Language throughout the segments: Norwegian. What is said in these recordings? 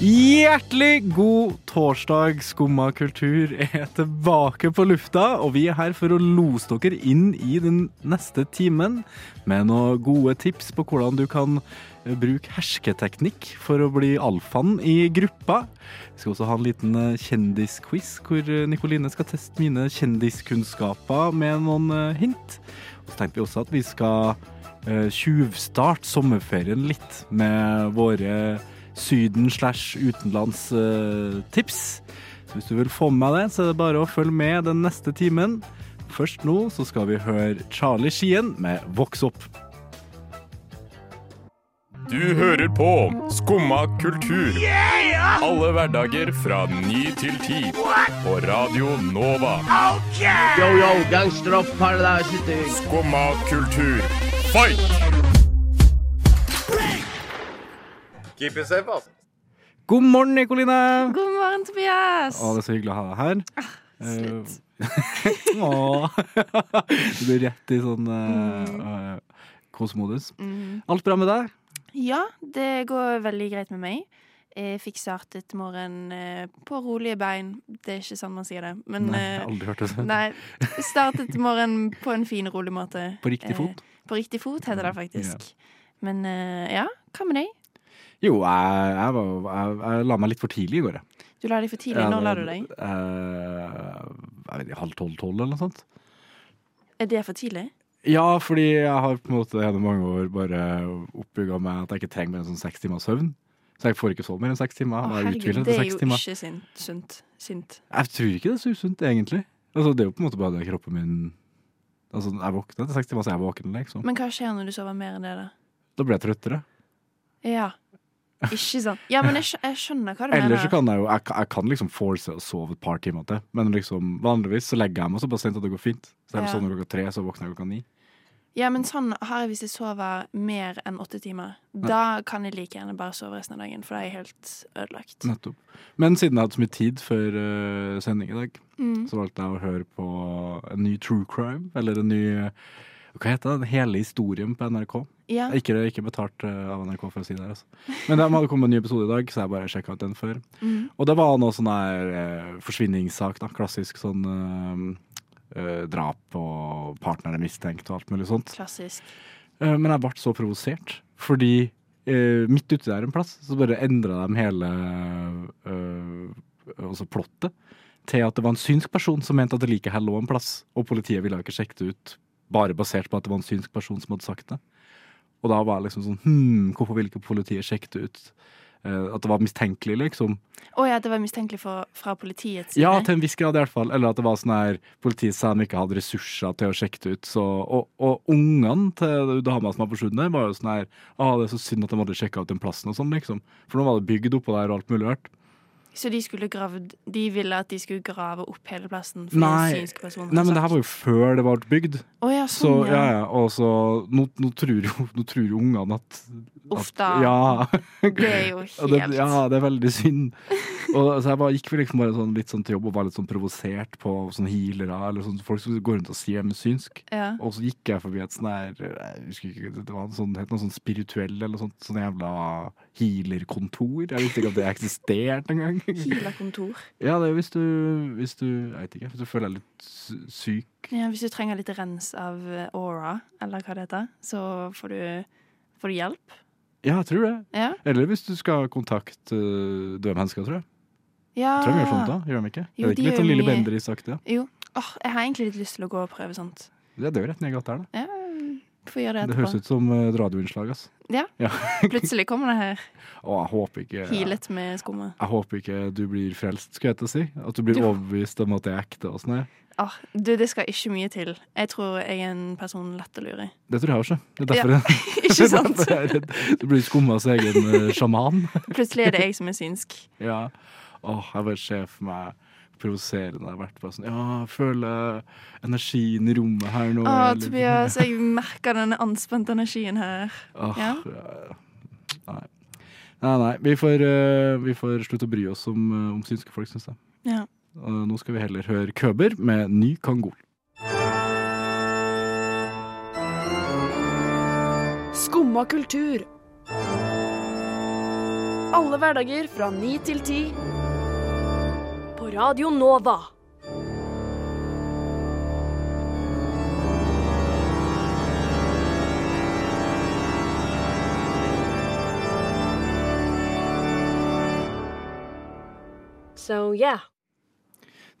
Hjertelig god torsdag. Skumma kultur er tilbake på lufta, og vi er her for å lose dere inn i den neste timen med noen gode tips på hvordan du kan eh, bruke hersketeknikk for å bli alfaen i gruppa. Vi skal også ha en liten eh, kjendisquiz hvor eh, Nikoline skal teste mine kjendiskunnskaper med noen eh, hint. Og så tenkte vi også at vi skal eh, tjuvstarte sommerferien litt med våre Syden slash utenlands eh, tips. Så hvis du vil få med deg det, så er det bare å følge med den neste timen. Først nå så skal vi høre Charlie Skien med Voks opp. Du hører på Skumma kultur. Alle hverdager fra ny til ti. På Radio Nova. Yo, yo, gangsteropp, paradiset. Skumma kultur. Fight! God morgen, Nikoline! God morgen, Tobias! Å, Ah, det er så hyggelig å ha deg her. Slutt. Eh, Åh. du blir rett i sånn eh, eh, kosemodus. Mhm. Alt bra med deg? Ja, det går veldig greit med meg. Jeg fikk startet morgenen eh, på rolige bein. Det er ikke sånn man sier det, men Nei, jeg har eh, aldri hørt det sånn. Nei. Startet morgenen på en fin, rolig måte. På riktig fot? Eh, på riktig fot heter det faktisk. Men eh, ja, hva med deg? Jo, jeg, jeg, var- jeg, jeg la meg litt for tidlig i går, jeg. Du la deg for tidlig. Når la du deg? Eh, jeg vet ikke, halv tolv-tolv eller noe sånt. Er det for tidlig? Ja, fordi jeg har på en måte gjennom mange år bare oppbygga meg at jeg ikke trenger mer enn sånn seks timers søvn. Så jeg får ikke sove mer enn seks timer. Å, Jeg er herregud, uthvilet etter det er seks jo timer. ikke sint, sunt. Sint. Jeg tror ikke det er så usunt, egentlig. Altså, det er jo på en måte bare det kroppen min Altså, Jeg våkner etter seks timer, så jeg er våken, liksom. Men hva skjer når du sover mer enn det, da? Da blir jeg trøttere. Ja. Ikke sant? Ja, men jeg, skj- jeg skjønner hva du mener. Eller så kan jeg jo jeg, kan- jeg kan liksom force å sove et par timer til. Men liksom, vanligvis så legger jeg meg så bare sent at det går fint. Så jeg Ja. sovner klokka tre, så våkner jeg klokka ni. Ja, men sånn har jeg hvis jeg sover mer enn åtte timer. Da kan jeg like gjerne bare sove resten av dagen, for da er jeg helt ødelagt. Nettopp. Men siden jeg hadde så mye tid før eh, sending i dag, Mm. så valgte jeg å høre på en ny true crime. Eller en ny eh, Hva heter det? Den hele historien på NRK. Ja. Jeg er Ikke, ikke betalt eh, av NRK for å si det her, altså. Men de hadde kommet en ny episode i dag, så jeg bare sjekka ut den før. Mm. Og det var noe sånn her eh, forsvinningssak, da. Klassisk sånn eh, eh, drap og partner er mistenkt og alt mulig sånt. Klassisk. Eh, Men jeg ble så provosert, fordi eh, midt ute der en plass, så bare endra de hele eh, altså plottet til at det var en synsk person som mente at det liket her lå en plass, og politiet ville jo ikke sjekke det ut bare basert på at det var en synsk person som hadde sagt det. Og da var jeg liksom sånn Hm, hvorfor ville ikke politiet sjekke det ut? Eh, at det var mistenkelig, liksom. Å ja, det var mistenkelig for, fra politiets side. Ja, til en viss grad i hvert fall. Eller at det var sånn her politiet sa de ikke hadde ressurser til å sjekke det ut. Så, og og ungene til dama som var forsvunnet, var jo sånn her ah, det er så synd at de hadde sjekka ut den plassen og sånn, liksom. For nå var det bygd oppå der og alt mulig rart. Så de skulle gravd De ville at de skulle grave opp hele plassen for Nei. en synsk person. altså. Nei, men det her var jo før det ble bygd. Å ja, Så sånn, ja, ja. ja. Og så nå, nå tror jo nå tror jo ungene at, Uff at da. Ja. Det er jo Og det, helt ja, det er veldig synd. Og, så jeg bare, gikk vel liksom bare sånn, litt sånn til jobb og var litt sånn provosert på sånne healere eller sånn, folk som går rundt og sier de er synsk. Ja. Og så gikk jeg forbi et sånn her jeg husker ikke, Det var en sånn, het noe sånn spirituell eller sånt, sånn jævla healerkontor. Jeg visste ikke at det eksisterte engang. Healerkontor. Ja, det er hvis du, hvis du Jeg vet ikke. Hvis du føler deg litt sy- syk. Ja, hvis du trenger litt rens av eh, aura, eller hva det heter, så får du, får du hjelp. Ja, jeg tror det. Ja. Eller hvis du skal kontakte øh, døde mennesker, tror jeg. ja. Tror de gjør sånt da, gjør de ikke? Ah. Jo, er det de ikke litt gjør sånn Lille mye. Bendriss-aktig? da? Jo. Åh, jeg har egentlig litt lyst til å gå og prøve sånt. Ja, det er jo rett ned i gata her, da. Ja, Får gjøre det Det etterpå. høres ut som eh, et radioinnslag. ass. Plutselig kommer det her Og jeg håper ikke jeg, healet med skummet. håper ikke du blir frelst, skulle jeg til å si. At du blir Du- overbevist om at det er ekte. og sånn her. Åh, du, det skal ikke mye til. Jeg tror jeg er en person lett å lure. Det tror jeg også. Det er derfor, jeg, ikke sant? det er derfor jeg er redd. Du blir skumma sin egen eh, sjaman. Plutselig er det jeg som er synsk. Ja. Åh, jeg bare ser for meg provoserende jeg har vært bare sånn Ja, jeg føler energien i rommet her nå. Å, eller- Ah, Tobias, jeg merker denne anspente energien her. liksom. Åh, Ja. ja. Nei. Nei, nei. Vi får, eh, vi får slutte å bry oss om, eh, om synske folk, syns jeg. Ja. Og nå skal vi heller høre Køber med Ny Kangol. Skumma kultur. Alle hverdager fra ni til ti. På Radio Nova. So yeah.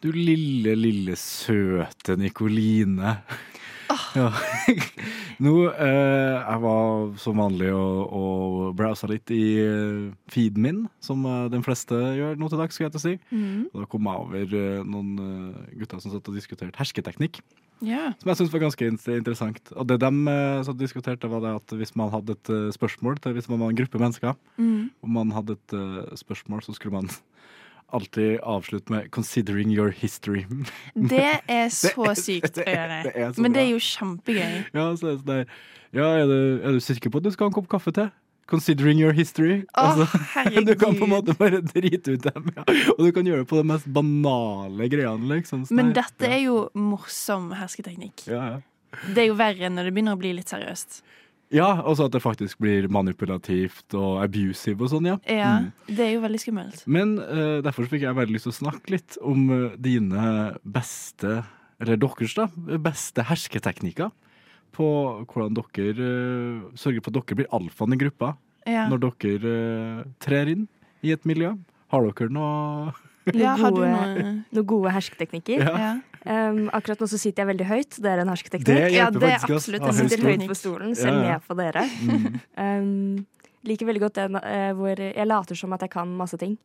Du lille, lille søte Nikoline. Ja. Nå, eh, jeg var som vanlig og, og browsa litt i eh, feeden min, som eh, den fleste gjør nå til dags, skulle jeg til å si. Mhm. Og da kom jeg over eh, noen eh, gutter som satt og diskuterte hersketeknikk, Ja. som jeg syntes var ganske in- interessant. Og det de eh, satt og diskuterte, det var det at hvis man hadde et eh, spørsmål til hvis man var en gruppe mennesker, Mhm. om man hadde et eh, spørsmål, så skulle man alltid avslutte med 'considering your history'. Det er så sykt å det er- det er gjøre. så Men det er bra. jo kjempegøy. Ja, så er det sånn der Ja, er du, er du sikker på at du skal ha en kopp kaffe til? Considering your history. Å, Altså, du kan på en herregud. måte bare drite ut dem, ja. og du kan gjøre det på de mest banale greiene. Liksom. Sånn Men der. dette er jo morsom hersketeknikk. ja, ja. Det er jo verre enn når det begynner å bli litt seriøst. ja, og så at det faktisk blir manipulativt og abusive og sånn, ja. Ja, Det er jo veldig skummelt. Men eh, derfor så fikk jeg veldig lyst til å snakke litt om eh, dine beste, eller deres da, beste hersketeknikker på hvordan dere eh, sørger for at dere blir alfaen i gruppa Ja. når dere eh, trer inn i et miljø. Har dere noe ja, har du Gode- noe Noen gode hersketeknikker. Ja. Ja. Um, akkurat nå så sitter jeg veldig høyt. Det er en Det altså, hersketeknikk. hjelper Ja, det er faktisk, ass. absolutt Ja, Jeg en sitter husker høyt du? hersketeknikk. på stolen, Ja, selv ja. ned på dere. Mm. Um, liker veldig godt den eh, hvor jeg later som at jeg kan masse ting.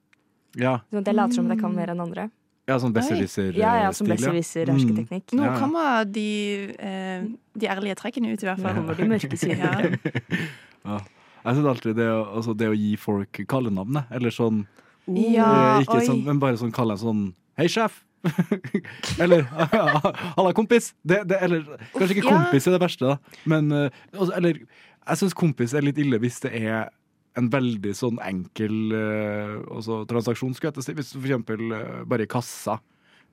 Ja, Sånn at jeg later som at jeg kan mer enn andre. ja sånn besserwisser-stil. Ja, ja, som besserwisser Mm. hersketeknikk. Nå Ja, ja. kommer de, eh, de ærlige trekkene ut, i hvert Nå fall. kommer de mørke sidene. Ja. Mm. Jeg synes alltid det, å- altså det å gi folk kallenavn, jeg, eller sånn Ja, Eh, ikke oi. sånn, men bare sånn kalle en sånn Hei, sjef! eller Halla, kompis! Det, det, eller kanskje ikke ja. kompis er det verste, da. Men, eh, altså, eller jeg syns kompis er litt ille hvis det er en veldig sånn enkel eh, altså, transaksjon, skulle jeg til å si. Hvis du for eksempel eh, bare i kassa,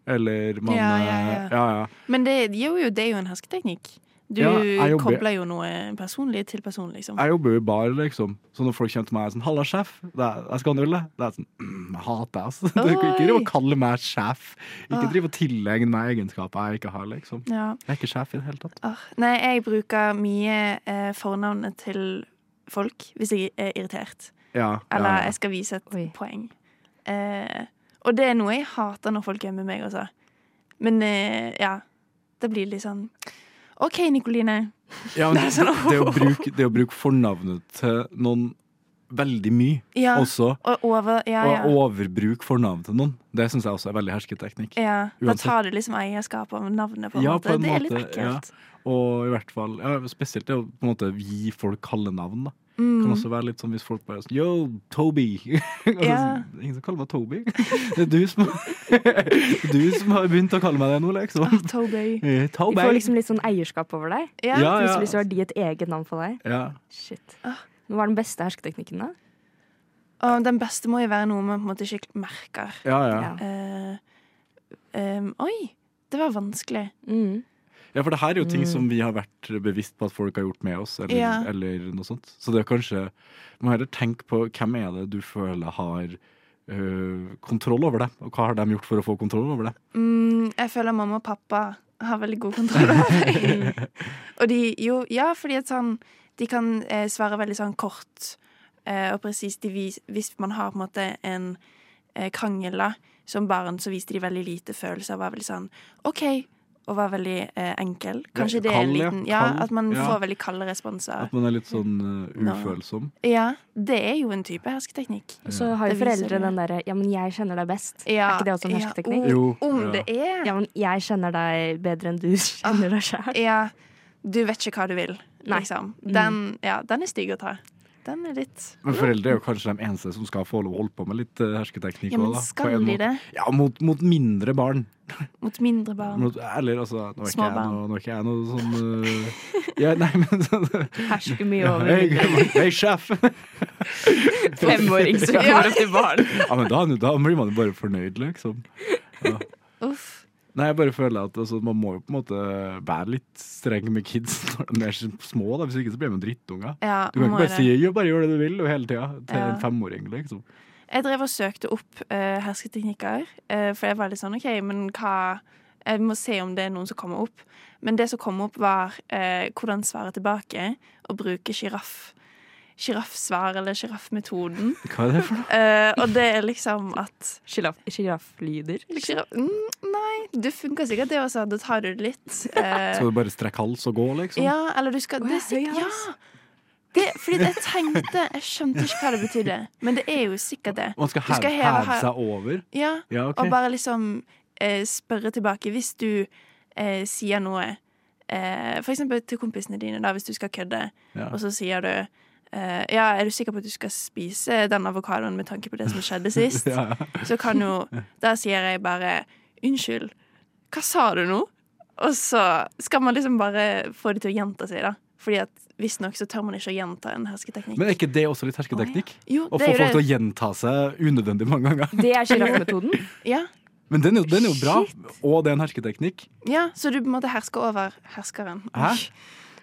eller man Ja, ja, eh, ja. ja, ja. Men det, jo, jo, det er jo en hersketeknikk. Du Ja, jeg jobber- kobler jo noe personlig til personlig, liksom. Jeg jobber jo i bar, liksom. Så når folk kommer til meg og er sånn 'Halla, sjef. Det er, jeg skal ha en øl, jeg.' Det er sånn mm, Jeg hater deg, altså. Du kan ikke drive og kalle meg sjef. Ikke Ah. drive og tilegne meg egenskaper jeg ikke har, liksom. Ja. Jeg er ikke sjef i det hele tatt. Ah, Nei, jeg bruker mye eh, fornavnet til folk hvis jeg er irritert. Ja, Eller ja, jeg skal vise et Oi. poeng. Eh, og det er noe jeg hater når folk er med meg, altså. Men eh, ja. Det blir litt sånn OK, Nikoline. ja. men det, sånn- det, å bruke, det å bruke fornavnet til noen veldig mye Ja. også, Og over Ja, og ja. overbruke fornavnet til noen, det syns jeg også er veldig hersketeknikk. ja. Da Uansett. tar du liksom eierskap over navnet, på en Ja, måte. på en det er litt måte, ja. ekkelt. Og i hvert fall, ja, spesielt det å på en måte gi folk kallenavn. da. Mm. Kan også være litt sånn hvis folk bare er sånn Yo, Toby! Og så Ja. sånn, Ingen som kaller meg Toby. Det er du som, du som har begynt å kalle meg det nå, liksom. Ah, Tobey. Eh, Du Toby! får liksom litt sånn eierskap over deg. Ja. Ja, Hvis ja. hvis du har de et eget navn for deg. ja. Shit. Ah. Hva er den beste hersketeknikken, da? Og den beste må jo være noe man på en måte ikke merker. Ja, ja. Ja. Eh, em, oi, det var vanskelig. Mm. Ja, for det her er jo ting som vi har vært bevisst på at folk har gjort med oss, eller, Mm. Ja. eller noe sånt. Så det er kanskje Du må heller tenke på hvem er det du føler har øh, kontroll over deg, og hva har de gjort for å få kontroll over deg? Mm, jeg føler mamma og pappa har veldig god kontroll over meg. og de jo, ja, fordi at sånn De kan eh, svare veldig sånn kort eh, og presist. De vis, hvis man har på en måte en eh, krangel da, som barn, så viste de veldig lite følelser. Var veldig sånn OK. Og var veldig eh, enkel. Kanskje det er en kald, ja. liten Ja, Kald, at man ja. får veldig kalde responser. At man er litt sånn øh, Nå. ufølsom. Ja, det er jo en type hersketeknikk. Og så har jo Det viser foreldre det. den derre 'ja, men jeg kjenner deg best'. Ja, Er ikke det også en ja, hersketeknikk? oh. Jo. Om ja. det er Ja, men jeg kjenner deg bedre enn du kjenner deg sjæl. Ja, du vet ikke hva du vil, Nei. liksom. Mm. Den, ja, den er stygg å ta. Den er litt Men foreldre er jo kanskje de eneste som skal få lov å holde på med litt øh, hersketeknikk. Ja, men også, da, på skal en de måte. det? Ja, mot, mot mindre barn. Mot mindre barn. Mot, eller altså, nå er Små ikke jeg barn. noe, nå er ikke jeg noe sånn øh, ja, Nei, men sånn Hersker mye Hei, over hei, sjef! femåring som Ja. kommer opp til barn. Ja, men da, da blir man jo bare fornøyd, liksom. Uff. Nei, jeg bare føler at altså, man må jo på en måte være litt streng med kids når de er små. Da. Hvis ikke så blir de jo drittunger. Ja, Du kan må ikke bare det. si «Jo, 'bare gjør det du vil' og hele tida til Ja. en femåring. liksom. Jeg drev og søkte opp eh, hersketeknikker, eh, for jeg var litt sånn OK, men hva Jeg må se om det er noen som kommer opp. Men det som kom opp, var eh, hvordan svare tilbake og bruke sjiraff. Sjiraffsvar eller sjiraffmetoden. Hva er det for noe? Eh, og det er liksom at Sjirafflyder. Giraff- mm, Nei, det funker sikkert, det også. Da tar du det litt. Eh, Skal du bare strekke hals og gå, liksom? Ja, eller du skal Å, det, ja, er sikkert- høy ja. hals. det, Fordi jeg tenkte Jeg skjønte ikke hva det betydde, men det er jo sikkert det. Man skal Du skal heve, heve- heve seg over? Ja, Ja, OK. Og bare liksom eh, spørre tilbake hvis du eh, sier noe eh, For eksempel til kompisene dine, da, hvis du skal kødde, Ja. og så sier du eh, Ja, er du sikker på at du skal spise den avokadoen med tanke på det som skjedde sist? Ja, ja. Så kan jo Da sier jeg bare Unnskyld, hva sa du nå? Og så skal man liksom bare få det til å gjenta seg, da. Fordi at visstnok så tør man ikke å gjenta en hersketeknikk. Men er ikke det også litt hersketeknikk? jo, Å få det er jo folk til det. å gjenta seg unødvendig mange ganger. Det er sjiraffmetoden. Ja. Men den er, jo- den er jo bra, og det er en hersketeknikk. ja, så du på en måte hersker over herskeren. Hæ?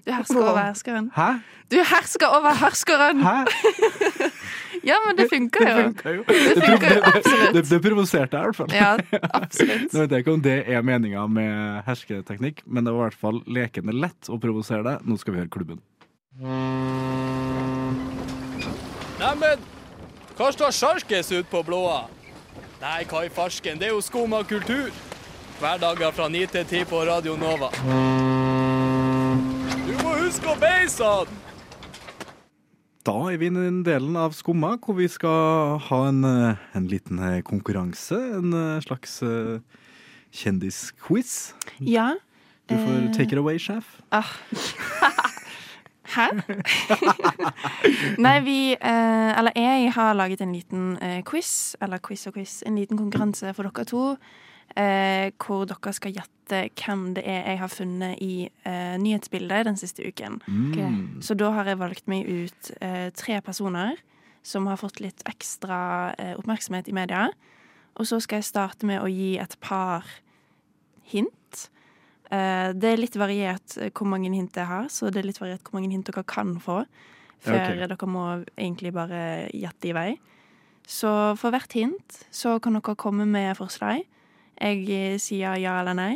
Du hersker over herskeren. Hæ? Du hersker over herskeren! Hæ? Ja, men det funker jo. funka jo. Det, det, funker jo det, det, det provoserte jeg i hvert fall. Ja, absolutt. Nå vet jeg ikke om det er meninga med hersketeknikk, men det var i hvert fall lekende lett å provosere deg. Nå skal vi høre klubben. Neimen, hva står sjarkes ut på blåa? Nei, hva i farsken, det er jo skum av kultur. Hverdager fra 9 til 10 på Radio Nova. Du må huske å beise han! Da er vi inne i den delen av Skumma hvor vi skal ha en, eh, en liten eh, konkurranse. En eh, slags eh, kjendisquiz. Ja. Du Eh. får take it away, sjef. Ah. Hæ? Nei, vi eh, Eller jeg har laget en liten eh, quiz, eller quiz og quiz, en liten konkurranse for dere to. Eh, hvor dere skal gjette hvem det er jeg har funnet i eh, nyhetsbildet den siste uken. Mm. Så da har jeg valgt meg ut eh, tre personer som har fått litt ekstra eh, oppmerksomhet i media. Og så skal jeg starte med å gi et par hint. Eh, det er litt variert eh, hvor mange hint jeg har, så det er litt variert hvor mange hint dere kan få. Før Ok. dere må egentlig bare gjette i vei. Så for hvert hint så kan dere komme med forslag. Jeg eh, sier ja eller nei.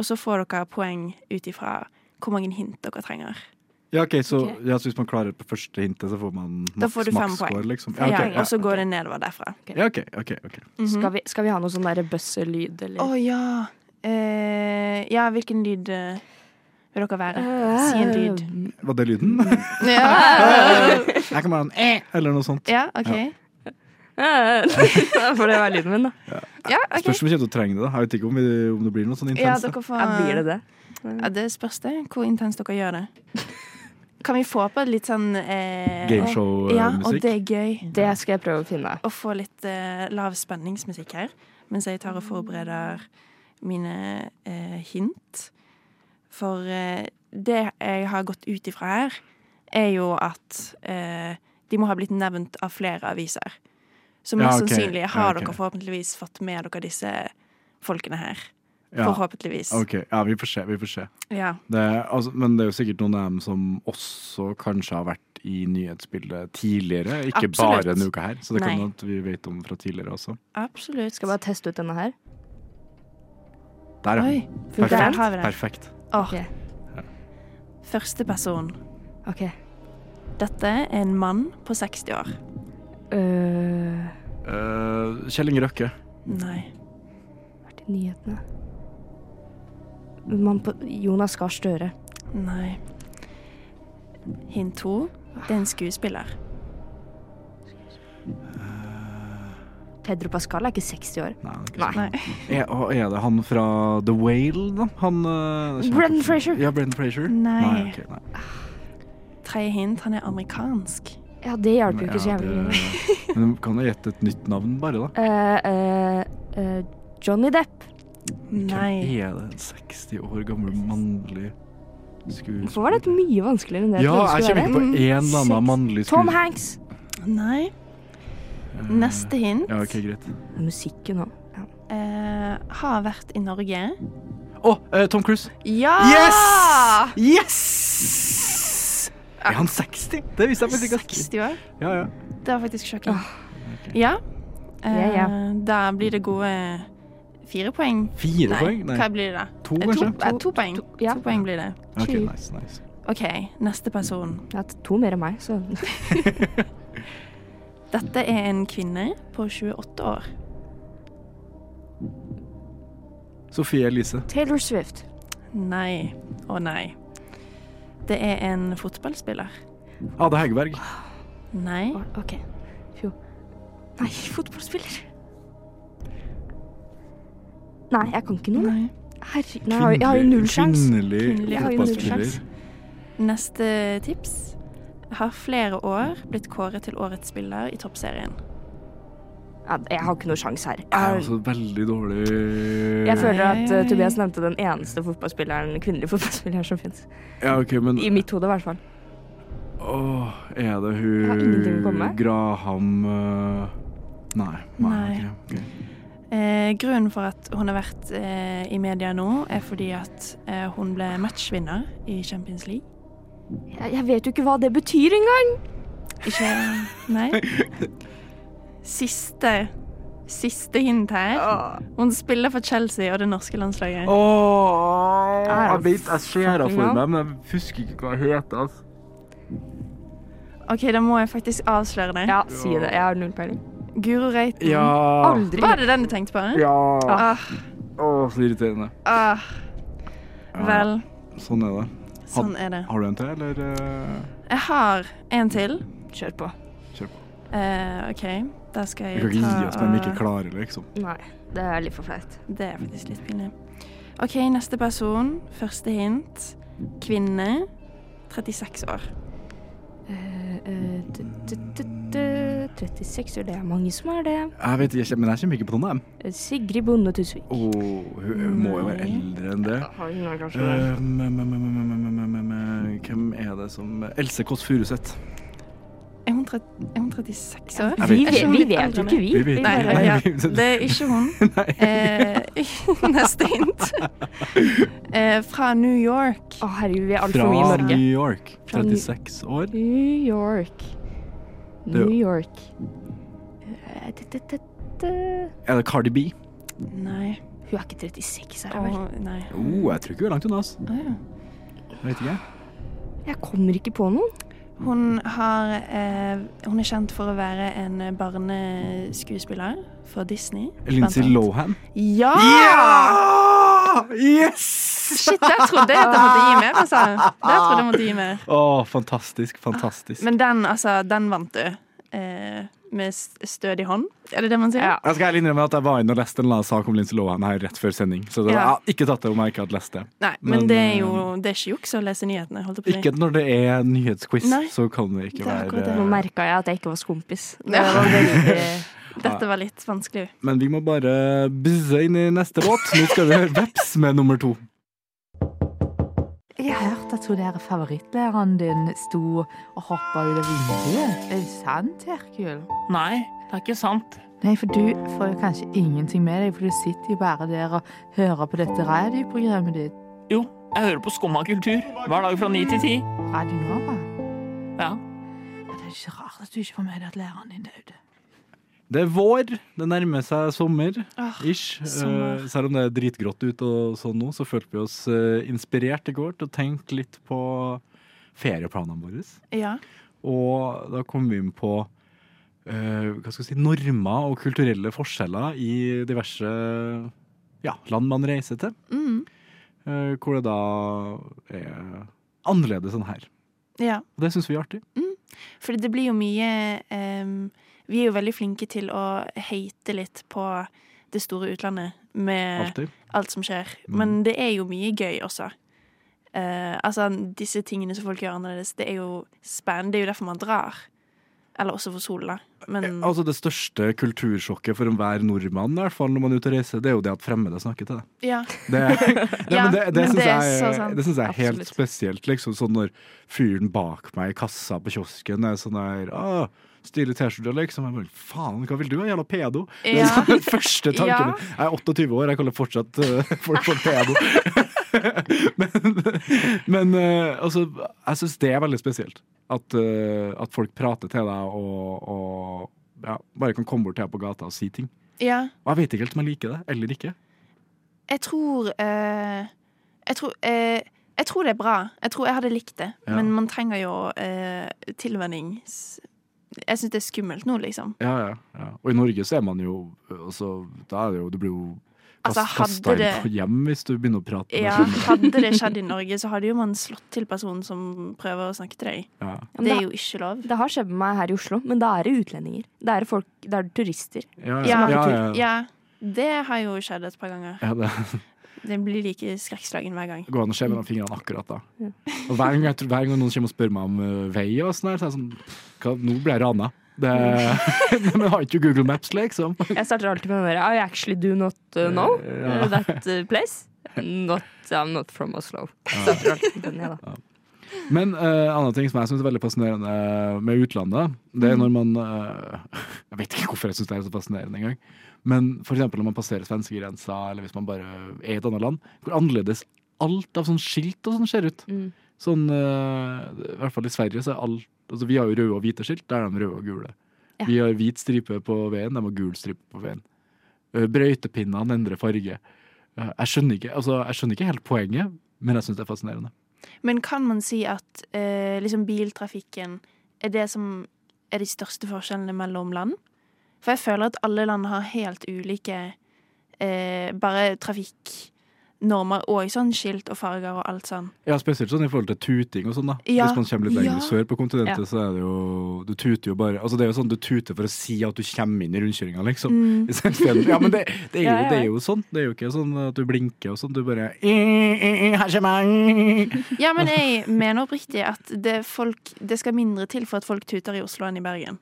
Og så får dere poeng ut ifra hvor mange hint dere trenger. Ja, ok, så, Ok. ja, så hvis man klarer på første hintet, så får man Da får du fem poeng. maksscore, Liksom. Ja, Ja, ok, ja. Og så går det nedover derfra. ja, ok, ok, ok. Skal vi, skal vi ha noe sånn derre bøsselyd, Å eller? ja. Eh, ja, hvilken lyd eh, vil dere være? Si en lyd. Var det lyden? Ja, Jeg kan bare ha en eh, eller noe sånt. ja OK. For det var lyden min, da. Ja, ok. Spørs om vi kommer til å trenge det. da. Jeg vet ikke om, vi, om det blir noe sånn Ja, intenst. da. dere får Ja, blir det det? Ja, det spørs det hvor intenst dere gjør det. Kan vi få på litt sånn eh, Gameshow-musikk. Ja, og det er gøy. Det skal jeg prøve å finne. Å få litt eh, lav spenningsmusikk her mens jeg tar og forbereder mine eh, hint. For eh, det jeg har gått ut ifra her, er jo at eh, de må ha blitt nevnt av flere aviser. Så Ja, mest ok. sannsynlig har Ja, ok. dere forhåpentligvis fått med dere disse folkene her. ja. Forhåpentligvis. Ok, ja, vi får se, vi får se. Ja. Det, er- altså, men det er jo sikkert noen av dem som også kanskje har vært i nyhetsbildet tidligere. Ikke Absolutt. bare denne uka her, så det kan Nei. hende at vi vet om fra tidligere også. Absolutt. Skal bare teste ut denne her. Der, ja. Oi, der Perfekt. har vi det. Perfekt. Åh. Ok. Første person. OK. Dette er en mann på 60 år. Øh, Eh, Kjell Inge Røkke. Nei. vært i nyhetene. Mann på Jonas Gahr Støre. Nei. Hint to. Det er en skuespiller. Pedro Pascal er ikke 60 år. Nei. det er ikke Nei. Nei. sant. Er, og er det han fra The Whale, da? Han eh, kjempe- Brendan Fraser. Ja, Brendan Fraser. Nei. Nei, ok, nei. Tredje hint. Han er amerikansk. Ja, det hjalp jo ikke så Ja, jævlig mye. det- Men kan jo gjette et nytt navn, bare, da. Eh, eh, eh, Johnny Depp. Nei. Hvem er det en 60 år gammel mannlig skuespiller? Hvorfor var dette mye vanskeligere enn det jeg Ja, trodde det jeg skulle kommer ikke på være? en eller annen Seks. mannlig Tom skuespiller. Hanks! Nei. Neste hint. Eh, Ja, ok, greit. Musikken òg. Ja. eh, har vært i Norge. Å, eh, Tom Cruise. Ja! Ah! Yes! Yes! Er han 60? Det visste jeg faktisk ikke. 60 år. Ja, ja. Det var faktisk sjokking. Ja. Ja, ja. Eh, Da blir det gode fire poeng. Fire poeng? hva blir det da? To, Eh, kanskje? To, eh, to poeng. To, ja. poeng blir det. Ok, nice, nice. OK, neste person. Jeg har hatt to mer enn meg, så Dette er en kvinne på 28 år. Sofie Elise. Taylor Swift. Nei og nei. Det er en fotballspiller. Ade Hegerberg. Nei. Å, OK. Jo. Nei, fotballspiller. Nei, jeg kan ikke noe. nei. Herregud, nei, jeg har- jeg har jo null sjans. Kvinnelig Kvinnelig har jo null fotballspiller. Neste tips har flere år blitt kåret til årets spiller i toppserien. Ja, jeg har ikke noe sjans her. Jeg er også veldig dårlig Jeg føler Ai, at ai, eh, ai. Tobias nevnte den eneste fotballspilleren, kvinnelige fotballspilleren som fins. Ja, ok, men I mitt hode, i hvert fall. Åh, er det Jeg har ingenting å hun komme med. Graham eh, Nei. nei. Nei. ok, ok. Eh, grunnen for at hun har vært eh, i media nå, er fordi at eh, hun ble matchvinner i Champions League. Jeg, jeg vet jo ikke hva det betyr engang! Ikke Nei. Siste Siste hint her. Hun spiller for Chelsea og det norske landslaget. Åh, Er jeg det vet jeg ser henne for fucking meg, men jeg husker ikke hva hun heter. Altså. OK, da må jeg faktisk avsløre det. Ja, si det. Jeg har null peiling. Guro Reiten. Ja. Aldri. Var det den du tenkte på? ja. Åh, Ah, så irriterende. ah. Ja, Vel, Sånn er det. sånn er det. Har du en til, eller eh, Jeg har en til. Kjør på. kjør på? Eh, OK, da skal Vi jeg ta kan ikke gi oss når vi ikke og- klarer, liksom. Nei, det er litt for flaut. Det er faktisk litt pinlig. OK, neste person. Første hint. Kvinne. 36 år. Eh, eh, d- d- d- d- 36 år, det er mange som er det. Jeg vet ikke, men jeg kommer ikke på noen av dem. Eh, Sigrid Bonde Tusvik. Åh, hun hun må jo være eldre enn det. Eh, men- men- men- men- men- men- men- men- men- Hvem er det som Else Kåss Furuseth. Er hun, tre- er hun 36 år? Eh, Jeg Vi, vet vet- ikke. vi vet jo ikke, vi. Vi vet Vi Nei, bare- Nei, ja, vi- det er ikke hun. Eh, neste hint. Eh, fra New York. Å, herregud, vi er altfor mye i Fra Norge. New York. Fra New- 36 år. New York. er jo- New York. Eh, d- d- d- d- Er det Cardi B? Nei. Hun er ikke 36, er hun vel? Åh, nei. Oh, jeg tror ikke hun er langt unna. ass. Åh, Ah, ja. Jeg vet ikke. Jeg kommer ikke på noen. Hun, har, eh, hun er kjent for å være en barneskuespiller for Disney. blant Lindsay annet. Lohan. Ja! Ah! Yes! Shit, der trodde jeg at jeg måtte gi meg. Altså. Der trodde jeg måtte gi meg. Å, fantastisk. Fantastisk. Men den, altså, den vant du. Eh, med s- stødig hånd, er det det man sier? Ja. Jeg skal ærlig innrømme at jeg var inne og leste en eller annen sak om Lindsay Lohan her rett før sending. Så det var, Ja. jeg har ikke tatt det om jeg ikke hadde lest det. Nei, men, Men, det er jo eh, Det er ikke juks å lese nyhetene, holdt jeg på å si. Ikke når det er nyhetsquiz, Nei. så kan det ikke eh, Det er være akkurat det. Nå merka jeg at jeg ikke var skompis. Det eh, Ja. var veldig Dette var litt vanskelig. Men vi må bare buzze inn i neste båt. Nå skal vi høre Veps med nummer to. Jeg har hørt at hun der favorittlæreren din sto og hoppa ut av vinduet. Er det sant, Herkul? Nei, det er ikke sant. Nei, for du får jo kanskje ingenting med deg, for du sitter jo bare der og hører på dette radioprogrammet ditt. Jo, jeg hører på Skumma kultur hver dag fra ni til ti. Radio Nova. Ja. Men det er ikke rart at du ikke får med deg at læreren din døde. Det er vår. Det nærmer seg sommer. Åh, Ish. Ah, sommer. Eh, selv om det er dritgrått ute og sånn nå, så følte vi oss eh, inspirert i går til å tenke litt på ferieplanene våre. Ja. Og da kom vi inn på eh, hva skal vi si, normer og kulturelle forskjeller i diverse ja, land man reiser til. Mm. eh, hvor det da er annerledes enn her. ja. Og det syns vi er artig. For det blir jo mye em, Vi er jo veldig flinke til å hate litt på det store utlandet med Alltid. alt som skjer. Men det er jo mye gøy også. Eh, altså, disse tingene som folk gjør annerledes, det er jo spennende. Det er jo derfor man drar. Eller også for Sola. Men Altså Det største kultursjokket for enhver nordmann i hvert fall når man er ute og reiser, det er jo det at fremmede snakker til deg. ja. Det, nei, Ja, men det, det men syns det er jeg, så sant. det synes jeg er helt Absolutt. spesielt. Liksom, sånn når fyren bak meg i kassa på kiosken er sånn der «Å, Stille T-skjorte, liksom. Jeg bare, Faen, hva vil du, jævla pedo? Det er Ja. sånn den første tanken. Ja. min. Jeg er 28 år, jeg kaller fortsatt eh, folk for pedo. men men eh, altså, jeg syns det er veldig spesielt. At, eh, at folk prater til deg og, og ja, bare kan komme bort til deg på gata og si ting. ja. Og jeg vet ikke helt om jeg liker det eller ikke. Jeg tror eh, Jeg tror eh, jeg tror det er bra. Jeg tror jeg hadde likt det. Ja. Men man trenger jo eh, tilvennings... Jeg syns det er skummelt nå, liksom. Ja, ja, ja. Og i Norge så er man jo altså, Da er det jo Du blir jo kast, Altså, hadde kasta inn det- på hjem hvis du begynner å prate. med Ja, fremmede. hadde det skjedd i Norge, så hadde jo man slått til personen som prøver å snakke til deg. Ja. men Det da- er jo ikke lov. Det har skjedd med meg her i Oslo, men da er det utlendinger. Da er det, folk, da er det turister. Ja, Ja, ja, ja, ja, ja. Det har jo skjedd et par ganger. Ja, det Det blir like skrekkslagen hver gang. går an å se mellom fingrene akkurat da. Og hver gang, jeg tror- hver gang noen kommer og spør meg om eh, vei, og sånn her, så er jeg sånn hva, Nå ble jeg rana. Det, men jeg har ikke Google Maps, liksom. Jeg starter alltid med å være I actually do not uh, know Ja. uh, that uh, place. Not, I'm not from Oslo. Starter alltid med den, jeg, da. Men uh, annen ting som jeg syns er veldig fascinerende eh, med utlandet, det er Mhm. når man eh, Jeg vet ikke hvorfor jeg syns det er så fascinerende engang, men f.eks. når man passerer svenskegrensa, eller hvis man bare er i et annet land, hvor annerledes alt av sånn skilt og sånn ser ut. Mm. Sånn, eh, I hvert fall i Sverige så er alt altså Vi har jo røde og hvite skilt, der er de røde og gule. Ja. Vi har hvit stripe på veien, de har gul stripe på veien. Eh, Brøytepinnene endrer farge. Eh, Jeg skjønner ikke, altså, jeg skjønner ikke helt poenget, men jeg syns det er fascinerende. Men kan man si at eh, liksom biltrafikken er det som er de største forskjellene mellom land? For jeg føler at alle land har helt ulike eh, bare trafikknormer og sånn skilt og farger og alt sånn. Ja, spesielt sånn i forhold til tuting og sånn, da. Ja. Hvis man kommer litt lenger Ja. sør på kontinentet, Ja. så er det jo Du tuter jo bare Altså, det er jo sånn du tuter for å si at du kommer inn i rundkjøringa, liksom. Mm. I stedet for- Ja, men det, det, er jo, Ja, ja, ja. det er jo sånn. Det er jo ikke sånn at du blinker og sånn. Du bare Her kommer jeg! Ja, men jeg mener oppriktig at det, er folk, det skal mindre til for at folk tuter i Oslo enn i Bergen.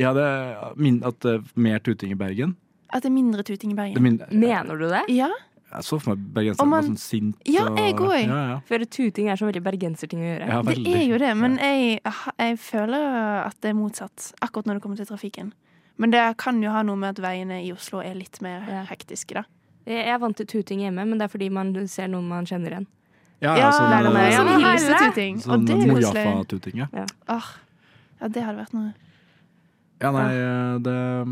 Ja, det er min, at det er mer tuting i Bergen. At det er mindre tuting i Det Bergen. er min, Mener du det? Ja, jeg så for meg Og bergenserne var man- sånn sinte Ja, jeg og går. Ja, ja. For tuting er så veldig bergenserting å gjøre. ja det veldig. er jo det, men jeg, jeg føler at det er motsatt akkurat når det kommer til trafikken. Men det kan jo ha noe med at veiene i Oslo er litt mer Ja. hektiske, da. Jeg er vant til tuting hjemme, men det er fordi man ser noen man kjenner igjen. Ja, ja, sånn, det er noe eh, Ja, sånn men herre! hilsetuting. sånn og det er koselig. Mojafa-tuting, ja. Åh, ja, det hadde vært noe. Ja, nei, eh, det er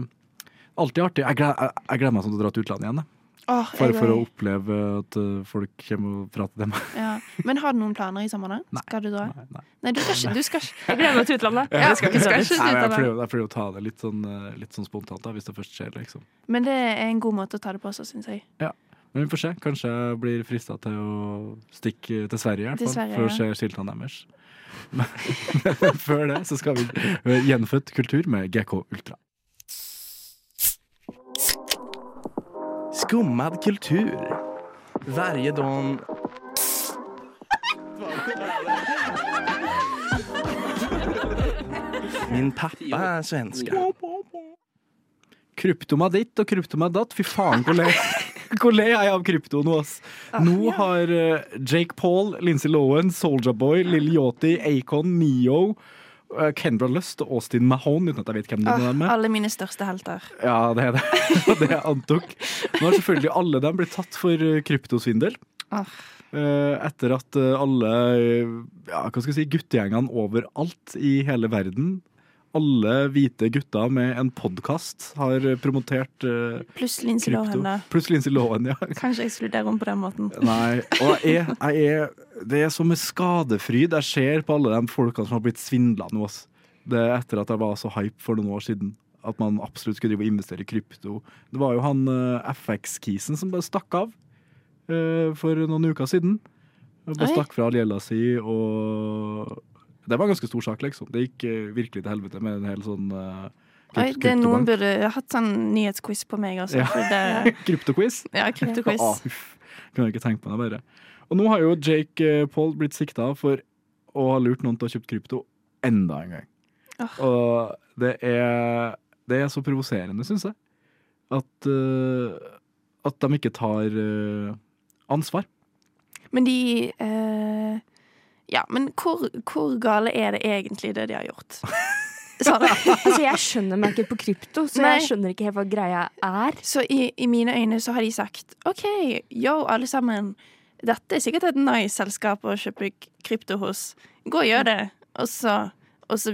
alltid artig. Jeg gleder, jeg, jeg gleder meg sånn til å dra til utlandet igjen. jeg. Åh, For, jeg for å går- oppleve at eh, folk kommer og prater til meg. ja. Men har du noen planer i sommer, da? Nei. Skal du dra? Nei, nei. Nei, du skal ikke. Du skal ikke. Jeg gleder meg til utlandet. Ja, du skal ikke Nei, men jeg, slutte prøver, jeg prøver å ta det litt sånn, eh, litt sånn spontant, da, hvis det først skjer. liksom. Men det er en god måte å ta det på også, syns jeg. Men vi får se. Kanskje jeg blir frista til å stikke til Sverige, i hvert Til fall, Sverige, for å se skiltene deres. Men før det så skal vi høre Gjenfødt kultur med GK Ultra. Skummad kultur. Varje dag. Min pappa är svenska. Kryptoma ditt og kryptoma datt. Fy faen, hvor le hvor le jeg av krypto nå, ass. Nå har eh, Jake Paul, Lindsay Lohan, Soulja Boy, Lil Yachty, Acon, Neo, eh, Kendra Lust og Austin Mahone, uten at jeg vet hvem Åh, den er med. alle mine største helter. Ja, det er det. det jeg antok. Nå har selvfølgelig alle dem blitt tatt for eh, kryptosvindel. Ah. Eh, Etter at eh, alle eh, ja, hva skal jeg si, guttegjengene overalt i hele verden, alle hvite gutter med en podkast, har eh, promotert eh, Pluss Lindsay krypto. Lohan, da. Pluss Lindsay Lohan, ja. Kanskje ekskludere henne på den måten. Nei, og jeg er, jeg er, det er som med skadefryd jeg ser på alle de folkene som har blitt svindla nå. ass. Det er etter at jeg var så hype for noen år siden. At man absolutt skulle drive og investere i krypto. Det var jo han eh, FX-kisen som bare stakk av eh, for noen uker siden. Og Bare Oi. stakk fra all gjelda si og Det var en ganske stor sak, liksom. Det gikk eh, virkelig til helvete med en hel sånn uh, Oi, det er noen burde hatt sånn nyhetsquiz på meg også. Ja. For det, Kryptoquiz. ja, kryptoquiz. Ah, uff. Kunne ikke tenkt på det, bare. Og nå har jo Jake eh, Paul blitt sikta for å ha lurt noen til å ha kjøpt krypto enda en gang. Og det er, det er så provoserende, syns jeg, at, eh, at de ikke tar eh, ansvar. Men de eh, Ja, men hvor, hvor gale er det egentlig, det de har gjort? Sånn. altså, jeg skjønner meg ikke på krypto, så Nei. jeg skjønner ikke helt hva greia er. Så i, i mine øyne så har de sagt OK, yo, alle sammen. Dette er sikkert et nice selskap å kjøpe k- krypto hos. Gå og gjør det. Og så, og så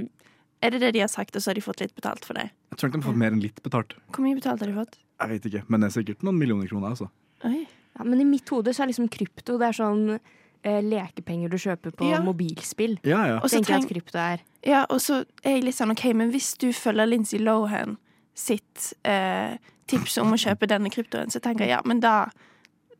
er det det de har sagt, og så har de fått litt betalt for det. Jeg tror ikke de har fått mer enn litt betalt. Hvor mye betalt har de fått? Jeg vet ikke, men det er sikkert noen millioner kroner. altså. Oi. Ja, men i mitt hode så er liksom krypto det er sånn eh, lekepenger du kjøper på Ja. mobilspill. Ja, ja. Og så Tenker jeg treng- at krypto er. Ja, og så er jeg litt sånn OK, men hvis du følger Lindsay Lohan sitt eh, tips om å kjøpe denne kryptoen, så tenker jeg ja, men da,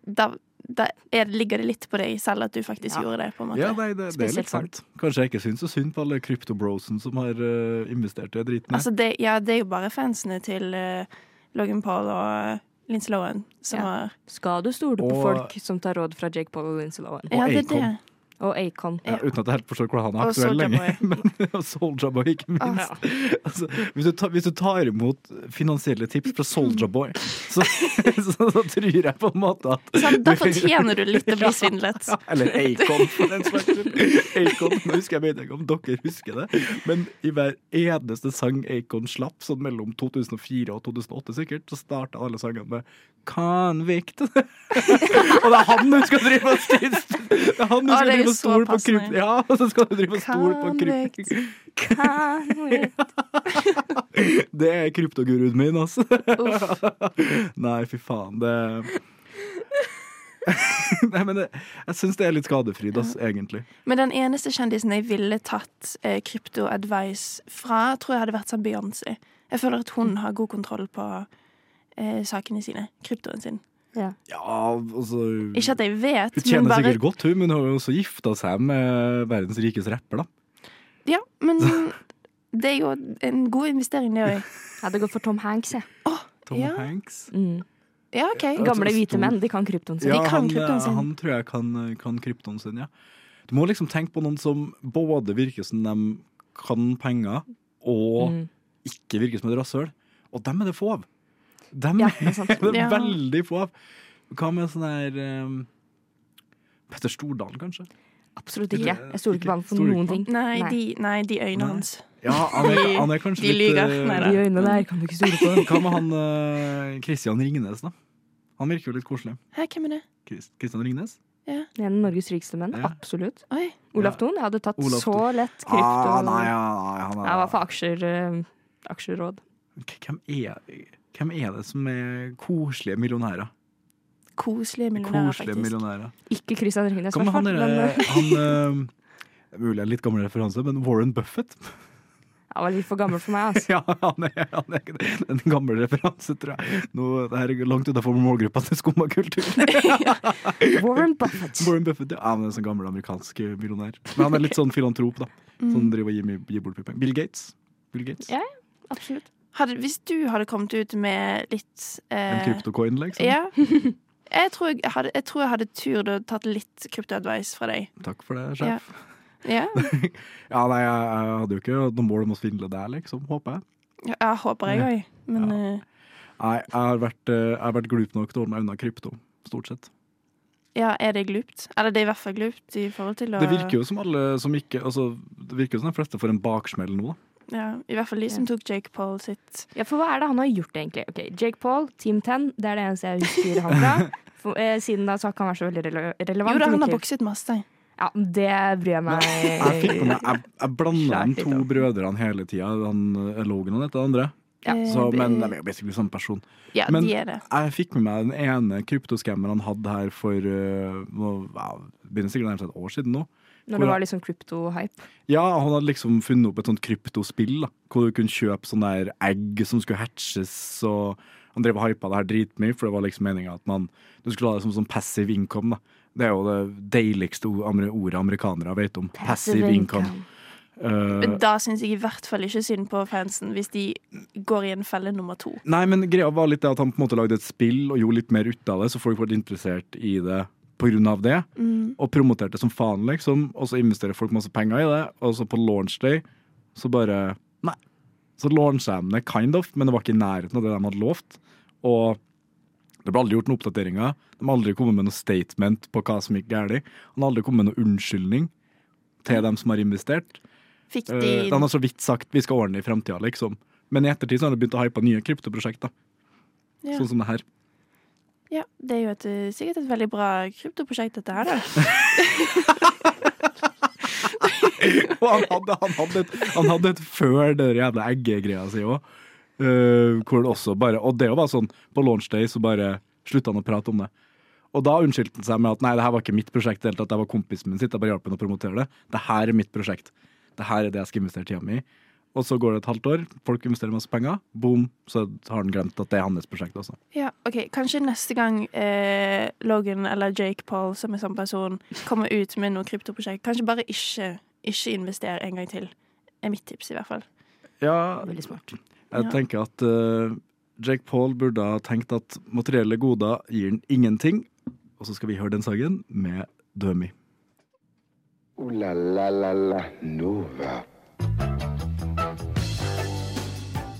da, da er, det- ligger det litt på deg selv at du faktisk Ja. gjorde det, på en måte. Ja, nei, det, det er litt Spesielt folk. sant. Kanskje jeg ikke syns så synd på alle kryptobrosen som har eh, investert i driten. her. Altså det, ja, det er jo bare fansene til eh, Logan Paul og uh, Lince Lohan som Ja. har Skal du stole på Og- folk som tar råd fra Jake Paul og Lindsay Lohan? Og Ja, det er Acon. det. Og Acon. Ja, uten at jeg helt forstår hvordan han er Og aktuell Soulja lenger. Men- Og Soulja Boy, ikke Ah. minst. Altså, hvis, du tar, hvis du tar imot finansielle tips fra Soulja Boy, så, så, så tror jeg på en måte at Sånn, Da fortjener du litt å bli svindlet. Ja, Eller Acon, for den saks skyld. Acon, nå husker jeg mener ikke om dere husker det, men i hver eneste sang Acon slapp, sånn mellom 2004 og 2008 sikkert, så starta alle sangene med Convict. og det er han du skal drive og stille Det er han du Å, skal det drive er og jo så stole på passende. krypt... Ja, og så skal du drive og stole på Convict. krypt... Det er kryptoguruen min, altså. Nei, fy faen, det Nei, men det, jeg syns det er litt skadefryd, ass, egentlig. Men den eneste kjendisen jeg ville tatt eh, krypto-advice fra, tror jeg hadde vært sånn Beyoncé. Jeg føler at hun har god kontroll på eh, sakene sine. Kryptoen sin. Ja, altså Ikke at jeg Hun vet, men tjener bare sikkert godt, hun, men hun har jo også gifta seg med verdens rikeste rapper, da. Ja, men det er jo en god investering, det òg. Jeg hadde gått for Tom Hanks, jeg. Tom Ja. Hanks. Mm. Ja, OK. Gamle så hvite stor- menn, de kan kryptoen sin. Ja, kan han, eh, kryptoen sin. han tror jeg kan, eh, kan kryptoen sin, ja. Du må liksom tenke på noen som både virker som de kan penger, og Mm. ikke virker som et rasshøl. Og dem er det få av. Dem Ja, er det er sant. det Ja. veldig få av. Hva med sånn her ehm, Petter Stordalen, kanskje? Absolutt ikke. Jeg stoler ikke på han for Stoler ikke noen på han? ting. Nei, Nei. de, nei, de øynene Nei. hans. Ja, han er, han er kanskje De litt lyger. eh, Nei, De øynene der kan du ikke stole på. Hva med han eh, Christian Ringnes, da? Han virker jo litt koselig. Hæ, hvem er det? Chris- Christian Ringnes? En av Norges rikeste menn. Ja. Absolutt. Oi. Olaf Thon. Jeg hadde tatt Olav så Thon. lett krypto. Ah, nei, ja, nei, han er, Jeg var for aksjer, eh, aksjeråd. K- Hvem er, hvem er det som er koselige millionærer? Koselige millionærer, Koselige faktisk. millionærer. Ikke Christian Ringnes, Hva med han hvertfall, derre men, eh, han, eh, det er Mulig en litt gammel referanse, men Warren Buffett? Jeg var litt for gammel for meg, altså. Ja, han er, han er ikke det. Det er en gammel referanse, tror jeg. Nå, det her er langt utenfor målgruppa til skumma kultur. Warren Buffett. Warren Buffett, ja, han er en sånn gammel amerikansk millionær. Men han er litt sånn filantrop, da. Mm. Som driver og gir, mye- gir bort mye penger. Bill Gates. Bill Gates. Ja. Absolutt. Hadde, hvis du hadde kommet ut med litt En eh, kryptocoin, liksom. ja. jeg, tror jeg, hadde, jeg tror jeg hadde turt å tatt litt krypto-advice fra deg. Takk for det, sjef. Ja. Ja, nei, jeg, jeg hadde jo ikke hatt noe mål om å svindle deg, liksom, håper jeg. Ja, Jeg håper jeg òg, men eh, Nei, jeg har vært, eh, jeg har vært glup nok til å holde meg unna krypto, stort sett. ja, er det glupt? Eller det er i hvert fall glupt i forhold til å Det virker jo som alle som ikke Altså, det virker jo som de fleste får en baksmell nå, da. ja, I hvert fall de som tok Jake Paul sitt. Ja, for hva er det han har gjort, egentlig? Ok, Jake Paul, Team 10, det er det eneste jeg husker han fra. For, eh, siden da så har ikke han vært så veldig rele relevant. Jo da, men han har ikke- bokset masse. Ja, det bryr jeg meg Jeg fikk på meg Jeg, jeg blanda Svært de to brødrene hele tida, han eh, Logan og dette andre. Ja. Eh, Så, men de er jo basically samme person. ja, men- de er det. Jeg fikk med meg den ene kryptoskammeren han hadde her for eh, nå- ja, Det begynner sikkert nærmest et år siden nå. Når det var liksom krypto-hype. Ja, han hadde liksom funnet opp et sånt kryptospill da, hvor du kunne kjøpe sånne der egg som skulle hatches, og han drev og hypa det her dritmye, for det var liksom meninga at man, du skulle ha det som sånn passive income. da. Det er jo det deiligste o- amer- ordet amerikanere vet om. Passive income. Eh, Men da syns jeg i hvert fall ikke synd på fansen, hvis de går i en felle nummer to. nei, men greia var litt det at han på en måte lagde et spill og gjorde litt mer ut av det, så folk ble interessert i det på grunn av det, og promoterte som faen, liksom, og så investerer folk masse penger i det, og så på launch day så bare Så launcha de det kind of, men det var ikke i nærheten av det de hadde lovt. Og det ble aldri gjort noen oppdateringer. De har aldri kommet med noe statement på hva som gikk galt. Han har aldri kommet med noen unnskyldning til dem som har investert. Fikk Eh, de de har så vidt sagt vi skal ordne det i framtida, liksom. Men i ettertid så har de begynt å hype nye kryptoprosjekter, ja. sånn som det her. ja, det er jo et, eh, sikkert et veldig bra kryptoprosjekt, dette her, da. Og han hadde, han hadde, et, han hadde et før det der jævla eggegreia si òg. hvor det også bare Og det var sånn På launchday så bare slutta han å prate om det. Og da unnskyldte han seg med at nei, det her var ikke mitt prosjekt. i Det hele tatt, det var kompisen min sitt, jeg bare hjalp ham å promotere det. Det her er mitt prosjekt. Det her er det jeg skal investere tida mi i. Og så går det et halvt år, folk investerer masse penger, boom, så har han glemt at det er hans prosjekt også. Ja, ok, Kanskje neste gang eh, Logan eller Jake Paul som er samme person, kommer ut med noe kryptoprosjekt. Kanskje bare ikke, ikke investere en gang til. er mitt tips, i hvert fall. Ja, Jeg Ja. tenker at eh, Jake Paul burde ha tenkt at materielle goder gir den ingenting. Og så skal vi høre den sangen med Dømi. Ooh la la la la Nova.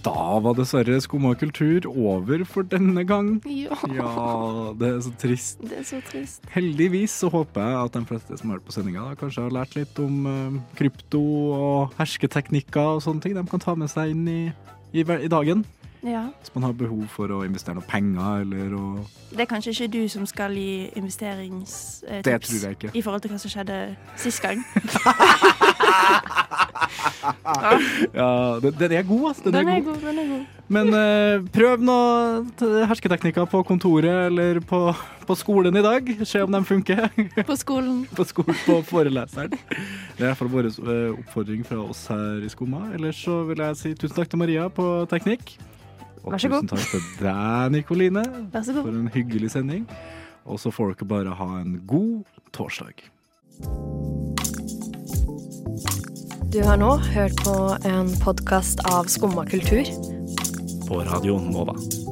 Da var dessverre Skumma kultur over for denne gang. Ja. Ja, det er så trist. Det er så trist. Heldigvis så håper jeg at de fleste som har hørt på sendinga, kanskje har lært litt om eh, krypto og hersketeknikker og sånne ting de kan ta med seg inn i, i, hver- i dagen. Ja. Hvis man har behov for å investere noe penger eller å Det er kanskje ikke du som skal gi investeringstips Det tror jeg ikke. i forhold til hva som skjedde sist gang. Ja, den, den er god, altså. Den, Den er er god. god, den er god. Men eh, prøv nå t- hersketeknikker på kontoret eller på, på skolen i dag. Se om de funker På skolen. på, skolen, på foreleseren. Det er i hvert fall vår eh, oppfordring fra oss her i Skumma. Ellers så vil jeg si tusen takk til Maria på teknikk. Og Vær så god. tusen takk til deg, Nikoline, Vær så for god. en hyggelig sending. Og så får dere bare ha en god torsdag. Du har nå hørt på en podkast av Skumma kultur. På Radio Nova.